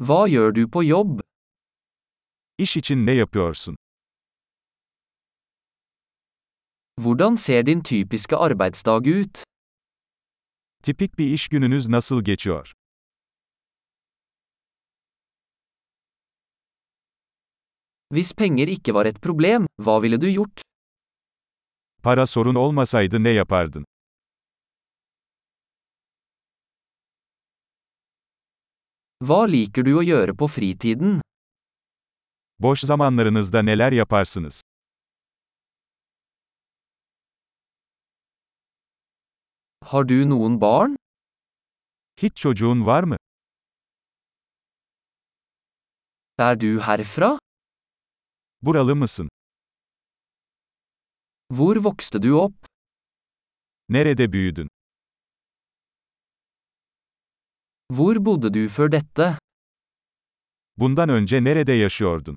Hva gjør du på jobb? İş için ne yapıyorsun? Hvordan ser din typiske arbeidsdag ut? Tipik bir iş gününüz nasıl geçiyor? Hvis penger ikke var et problem, hva ville du gjort? Para sorun olmasaydı ne yapardın? Hva liker du å gjøre på fritiden? Boş zamanlarınızda neler yaparsınız? Har du noen barn? Hiç çocuğun var mı? Er du herfra? Buralı mısın? Hvor vokste du opp? Nerede büyüdün? Hvor bodde du før dette? Bundan önce nerede yaşıyordun?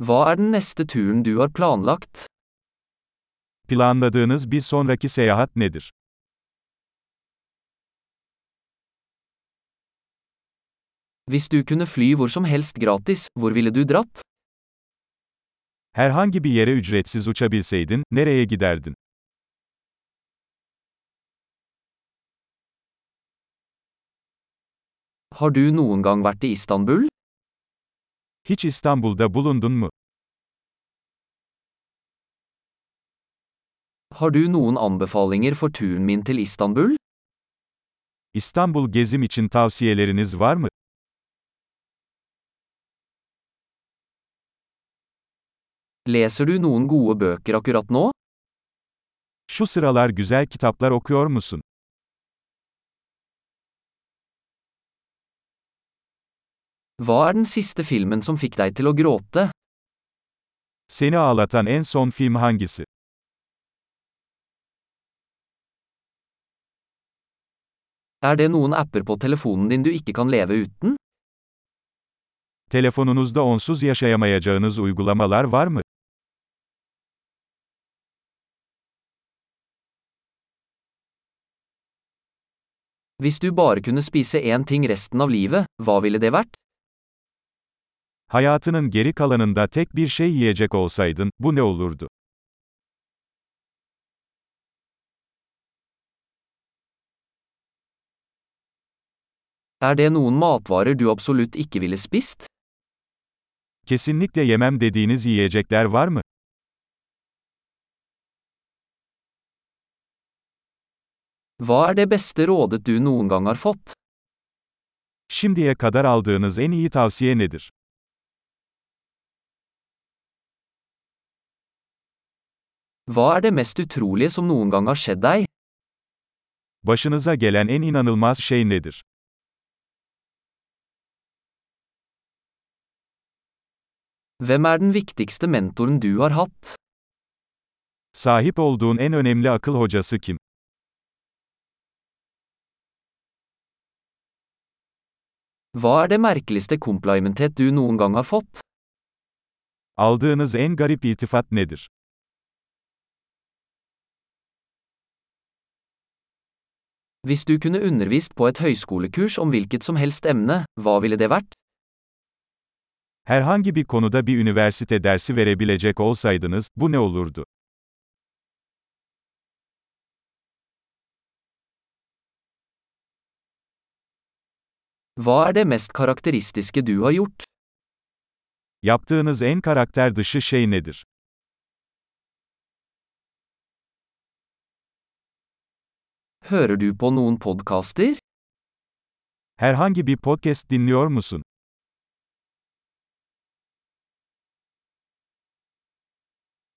Hva er den neste turen du har planlagt? Planladığınız bir sonraki seyahat nedir? Hvis du kunne fly hvor som helst gratis, hvor ville du dratt? Herhangi bir yere ücretsiz uçabilseydin, nereye giderdin? Har du noen gang vært i Istanbul? Hiç İstanbul'da bulundun mu? Har du noen anbefalinger for turen min til Istanbul? İstanbul gezim için tavsiyeleriniz var mı? Leser du noen gode bøker akkurat nå? Şu sıralar güzel kitaplar okuyor musun? Hva er den siste filmen som fikk deg til å gråte? Seni ağlatan en son film hangisi? Er det noen apper på telefonen din du ikke kan leve uten? Telefonunuzda onsuz yaşayamayacağınız uygulamalar var mı? Hvis du bare kunne spise én ting resten av livet, hva ville det vært? Hayatının geri kalanında tek bir şey yiyecek olsaydın, bu ne olurdu? Er det noen matvarer du absolutt ikke ville spist? Kesinlikle yemem dediğiniz yiyecekler var mı? Hva er det beste rådet du noen gang har fått? Şimdiye kadar aldığınız en iyi tavsiye nedir? Hva er det mest utrolige som noen gang har skjedd deg? Başınıza gelen en inanılmaz şey nedir? Hvem er den viktigste mentoren du har hatt? Sahip olduğun en önemli akıl hocası kim? Hva er det merkeligste komplimentet du noen gang har fått? Aldığınız en garip iltifat nedir? Hvis du kunne undervist på et høyskolekurs om hvilket som helst emne, hva ville det vært? Herhangi bir konuda bir üniversite dersi verebilecek olsaydınız, bu ne olurdu? Hva er det mest karakteristiske du har gjort? Yaptığınız en karakter dışı şey nedir? Hører du på noen podkaster? Herhangi bir podcast dinliyor musun?